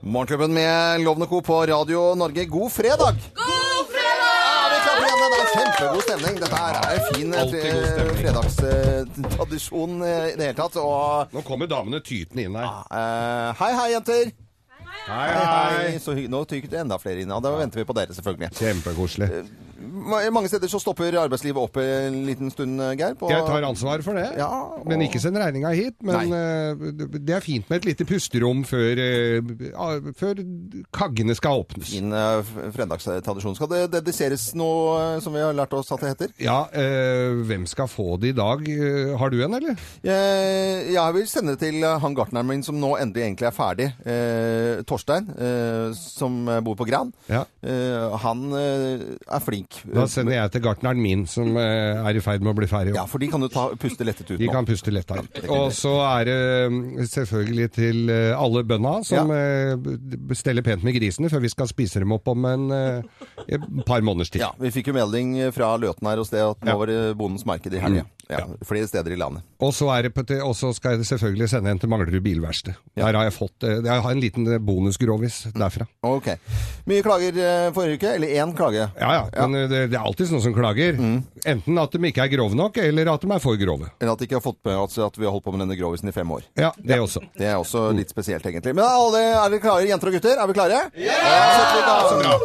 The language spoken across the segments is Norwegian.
Morgenklubben med Lovende Co. på Radio Norge, god fredag! God fredag! Ja, vi klapper igjen. Det er kjempegod stemning. Dette her er en fin Alltid god eh, stemning. fredagstradisjon eh, i det hele tatt. Og Nå kommer damene tytende inn her. eh, hei, hei, jenter. Hei, Så hy Nå tykker det enda flere inn. Ja, da venter vi på dere, selvfølgelig. Kjempekoselig. Eh, Ma- Mange steder så stopper arbeidslivet opp en liten stund, eh, Geir. På Jeg tar ansvar for det, Ja, og- men ikke send regninga hit. Men eh, det er fint med et lite pusterom før, eh, ah, før kaggene skal åpnes. Fin eh, f- fredagstradisjon. Skal det dediseres noe eh, som vi har lært oss at det heter? Ja, eh, hvem skal få det i dag? Eh, Har du en, eller? Jeg, jeg vil sende det til eh, han gartneren min som nå endelig egentlig er ferdig. Eh, Torstein, eh, som bor på Gran. Ja. Eh, han eh, er flink. Da sender jeg til gartneren min, som eh, er i ferd med å bli ferdig. Eh, Ja, for de kan jo ta, puste lettet ut De nå. kan puste lett her. det kan Og de. så er det eh, selvfølgelig til eh, alle bønda som eh, steller pent med grisene før vi skal spise dem opp om en eh, et par måneders tid. Ja, Vi fikk jo melding fra Løten her hos det at nå Ja. Mm. var det bondens marked i helga. Ja, flere steder i landet. Og så er det på te- og så skal jeg selvfølgelig sende en til Manglerud bilverksted. Der har jeg fått eh, Jeg har en liten eh, bonusgrovis derfra. Ok. Mye klager eh, forrige uke. Eller én klage. Ja ja, Mm. men eh, det, det er alltid noen som klager. Enten at de ikke er grove nok, eller at de er for grove. Eller at de ikke har fått med altså, at vi har holdt på med denne grovisen i fem år. Ja, det også. Det er også litt spesielt, egentlig. Men alle, er dere klare, jenter og gutter? Er vi klare? Ja! Så bra.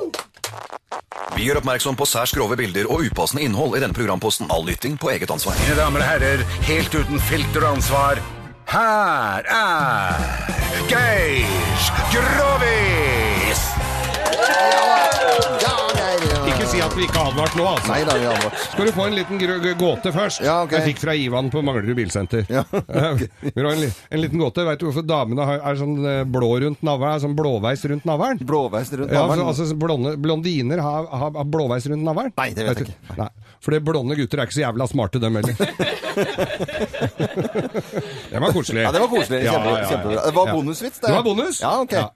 Vi gjør oppmerksom på særs grove bilder og upassende innhold i denne programposten. All lytting på eget ansvar. Mine damer og herrer, helt uten filter og ansvar, her er Geir Grovis! Ja, Geir. ja. Ikke si at vi ikke har advart nå, altså. Nei da, vi advart. Skal du få en liten grø- grø- gåte først? Ja, ok. Jeg fikk fra Ivan på Manglerud bilsenter. Eh, Ja, ok. Vi har en, li- en liten gåte. Veit du hvorfor damene har, er sånn eh, blå rundt navlen? Er sånn blåveis rundt navlen? Blåveis rundt Ja, navlen. for, altså, så blonde, blondiner har, har, har blåveis rundt navlen? Nei, det vet jeg du- Nei, for det blonde gutter er ikke så jævla smarte, dem heller. det var koselig. Ja, det var koselig. Ja, Kjempe, ja, ja. Kjempebra. Det var Ja. bonusvits, det. Det var bonus. Ja, ok. Ja.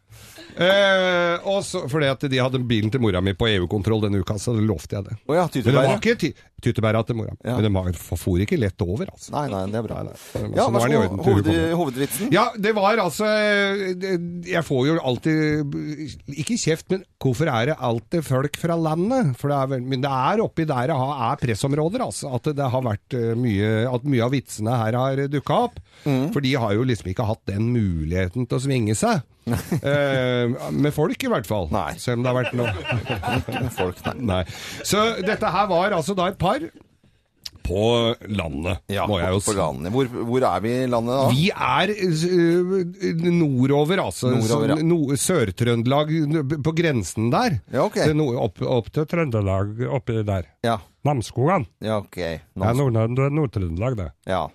Eh, og så, fordi at de hadde bilen til mora mi på EU-kontroll denne uka, så lovte jeg det. Å ja, Men det tyttebær. var ikke ty tyttebæra til mora. Ja. Men den var, for for ikke lett over, altså. Nei, nei, det er bra. Nei, nei. Ja, Så nå vær er det i så orden god. til Hoved, vi kommer. hovedvitsen. Ja, det var altså det- Jeg får jo alltid Ikke kjeft, men hvorfor er det alltid folk fra landet? For det er vel, men det er oppi der det har- er pressområder, altså. At det har vært eh, mye At mye av vitsene her har dukka opp. Mm. For de har jo liksom ikke hatt den muligheten til å svinge seg. eh, med folk, i hvert fall. Nei. Selv om det har vært noe Folk, nei. Nei. Så dette her var altså da et par på landet, må jeg jo på si. landet. Hvor, hvor er vi i landet da? Vi er ø, nordover, altså. Nordover, ja. Så no, Sør-Trøndelag, n- på grensen der. Ja, ok. Til nord- opp, opp til Trøndelag, oppi der. Ja, Namsskogan. ja ok. Det Nå, er Nord- det er Nord-Trøndelag, det. ja.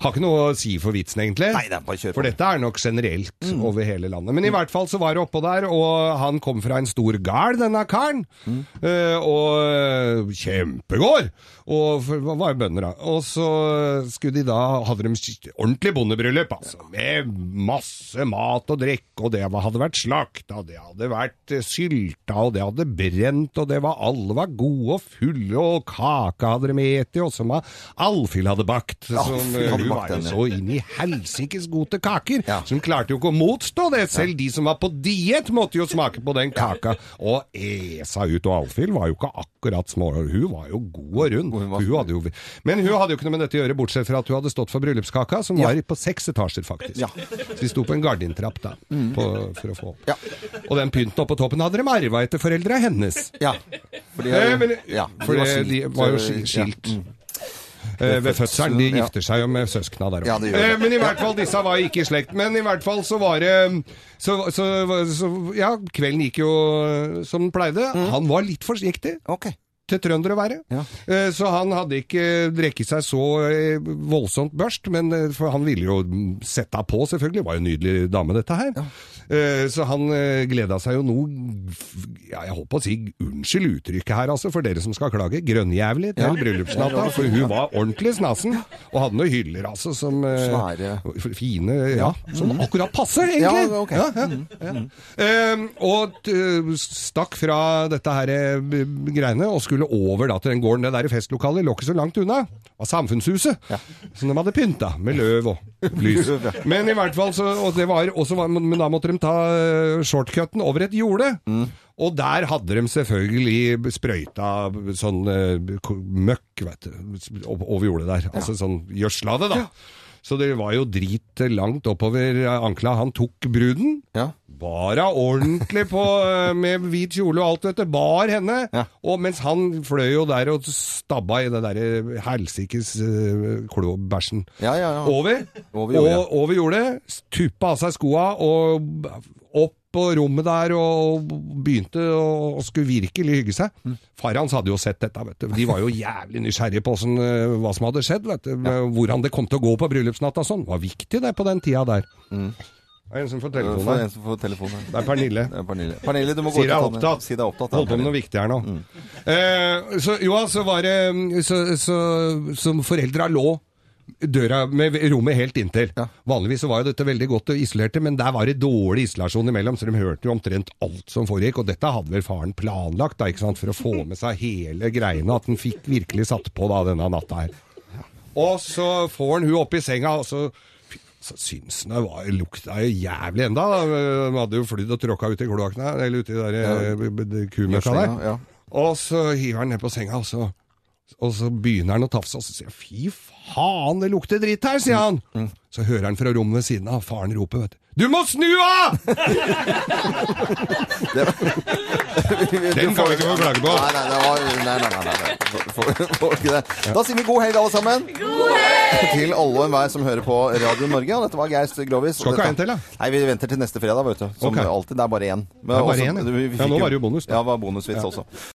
Har ikke noe å si for vitsen, egentlig. Nei, det er bare å kjøre på. For dette er nok generelt Mm. over hele landet. Men i hvert fall så var det oppå der, og han kom fra en stor gard, denne karen. Mm. Eh, og eh, kjempegård! Og for- hva var jo bønder, da. Og så skulle de da Hadde de sk- ordentlig bondebryllup, altså. Med masse mat og drikke, og det var- hadde vært slakta, det hadde vært eh, sylta, og det hadde brent, og det var alle var gode og fulle, og kake hadde de eti, og som Alfhild hadde bakt. Som, Alfhild hadde bakt hun var jo den, ja. så inn i helsikes god til kaker. Ja. Så hun klarte jo ikke å motstå det. Selv de som var på diett, måtte jo smake på den kaka. Og esa ut. Og Alfhild var jo ikke akkurat små. Hun var jo god og rund. Hun var- Hun hadde jo... Men hun hadde jo ikke noe med dette å gjøre, bortsett fra at hun hadde stått for bryllupskaka, som var på seks etasjer, faktisk. Ja. Mm. Så vi sto på en gardintrapp da, på, for å få opp. Ja. Og den pynten oppå toppen hadde de arva etter foreldra hennes. Ja. Fordi, Eh, men, ja, for de var det- skilt, de var jo så- ski- ja. Mm. skilt. Eh, ved fødselen. De Ja. gifter seg jo med søskna der òg. Ja, det gjør det. men i hvert fall, disse var ikke i slekt. Men i hvert fall så var det mm, Så, så, så ja, kvelden gikk jo eh, som den pleide. Mm. Han var litt forsiktig. Ok. Til trønder å være. Ja. Eh, Så han hadde ikke drukket seg så eh, voldsomt børst, men eh, for han ville jo mm, sette henne på, selvfølgelig. Det var jo en nydelig dame, dette her. Eh, Så han eh, gleda seg jo noe ja, Jeg holdt på å si unnskyld uttrykket her, altså, for dere som skal klage. Grønnjævlig til Ja. bryllupsnatta, for hun var ordentlig snasen. Og hadde noen hyller, altså, som eh, Svære. Fine, ja. Som akkurat passer, egentlig. Ja, ok. Mm. Ehm, Eh, og t- stakk fra dette her eh, b- greiene og skulle skulle over da til den gården. Det der festlokalet lå ikke så langt unna. Det var samfunnshuset. Som de hadde pynta med løv og lys. Løv, ja. Men i hvert fall, så, og det var, og så var, men da måtte de ta eh, shortcutten over et jorde. Og der hadde de selvfølgelig sprøyta sånn eh, ko- møkk vet du, opp- over jordet der. Altså sånn gjødsla det, da. Så det var jo drit langt oppover eh, ankla. Han tok bruden. Ja. Bar henne ordentlig på, eh, med hvit kjole og alt, vet du. Bar henne. Ja. Og mens han fløy jo der og stabba i det derre helsikes eh, klobæsjen Ja, ja, ja. over. Over jordet, og, over jordet. Tuppa av seg skoa og opp på rommet der og begynte å og skulle virkelig hygge seg. Mm. Far hans hadde jo sett dette, vet du. De var jo jævlig nysgjerrige på hvordan, eh, hva som hadde skjedd, vet du. Hvordan det kom til å gå på bryllupsnatta og sånn. Det var viktig det på den tida der. Det er en som får Det telefonen var her. Mm. en som får telefonen. Det er Pernille. Det er Pernille. Pernille, du må gå ut Sier jeg er og ta den. opptatt. Si deg opptatt. Holdt på med Pernille. noe Mm. viktig her nå. Eh, så jo, så var det mm, Så, så, så foreldra lå døra med rommet helt inntil. Ja. Vanligvis så var jo dette veldig godt og isolerte, men der var det dårlig isolasjon imellom, så de hørte jo omtrent alt som foregikk. Og dette hadde vel faren planlagt, da, ikke sant, for å få med seg hele greiene, at han fikk virkelig satt på da denne natta her. Og så får han hun opp i senga, og så, fy, så syns han det var, lukta jo jævlig enda. da. De hadde jo flydd og tråkka ut i kloakkene, eller ute i der, eh, kumøkka der. Gjødslinga, ja. Og så hiver han ned på senga, og så, og så begynner han å tafse, og så sier han 'fy faen, det lukter dritt her', sier han. Så hører han fra rommet ved siden av faren rope, vet du. Du må snu av! Den kan vi ikke få klage på. Nei, nei, det var, nei, nei, nei, nei. Får- Får, får ikke det. Da sier vi god helg, alle sammen. Til alle og enhver som hører på Radio Norge. Og dette var Geir Grovis. Skal ikke ha en til, da? Nei, vi venter til neste fredag, vet du. Som Ok. alltid. Det er bare én. Men Det er bare også- én, ja. vi- vi Ja, nå fikk var det jo bonus, da. Ja, det var bonusvits også.